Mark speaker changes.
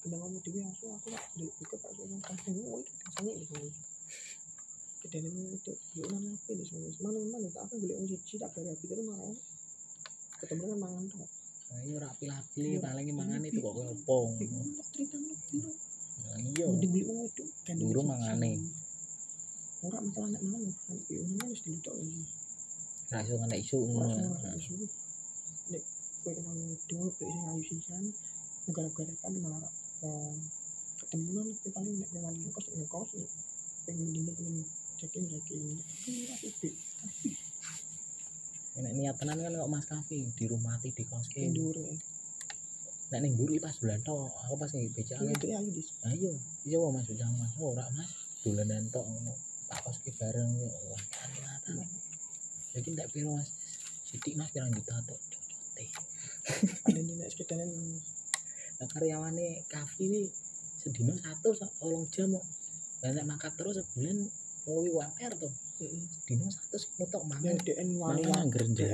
Speaker 1: Kena ngomong dhewe asu aku lah ndelok buka Pak Sono kasih ngono iki kasane iki. Kedene itu yo nang apa di sono. Mana mana tak aku golek wong siji tak gara pikir mau. Ketemu kan mangan tok.
Speaker 2: Ayo rapi lagi paling mangan itu kok ngopong.
Speaker 1: Iku oh, tak critane piro?
Speaker 2: Nah, iya.
Speaker 1: Mending golek wong wedok kan.
Speaker 2: Durung mangane.
Speaker 1: Ora masalah nek mangan ora. Nek yo nang wis dilutok iki.
Speaker 2: Rasio ngene isu
Speaker 1: Ora
Speaker 2: ngono.
Speaker 1: ora isu. Nek kowe kenal wong wedok kowe sing ayu sisan gara-gara kan malah eh, ketemu nang kowe paling nek nyaman ngekos ngekos nek pengen dino pengen cekin cekin. Ini ora sithik.
Speaker 2: Nek niat tenan kan kok Mas Kafi di rumah ti di kos ki.
Speaker 1: Endure.
Speaker 2: Nek ning mburi pas bulan tok, aku pas ngi becak.
Speaker 1: Ini tuh ayu di
Speaker 2: Ayo, iya wae Mas becak Mas. Oh, Ora Mas, dolanan tok ngono. Tak kos ki bareng ya Allah. Ternyata. Lagi tak piro Mas. Sidik Mas pirang juta tok. Cocote.
Speaker 1: ada nih naik sepeda nih
Speaker 2: Nah, karyawane Kafi ini sedino satu sa- tolong jam kok. Lah nek makat terus sebulan ngluwi UMR to. Dino satu sepuluh tok
Speaker 1: ya
Speaker 2: mangan.
Speaker 1: DN wali
Speaker 2: Mangan angger njaluk.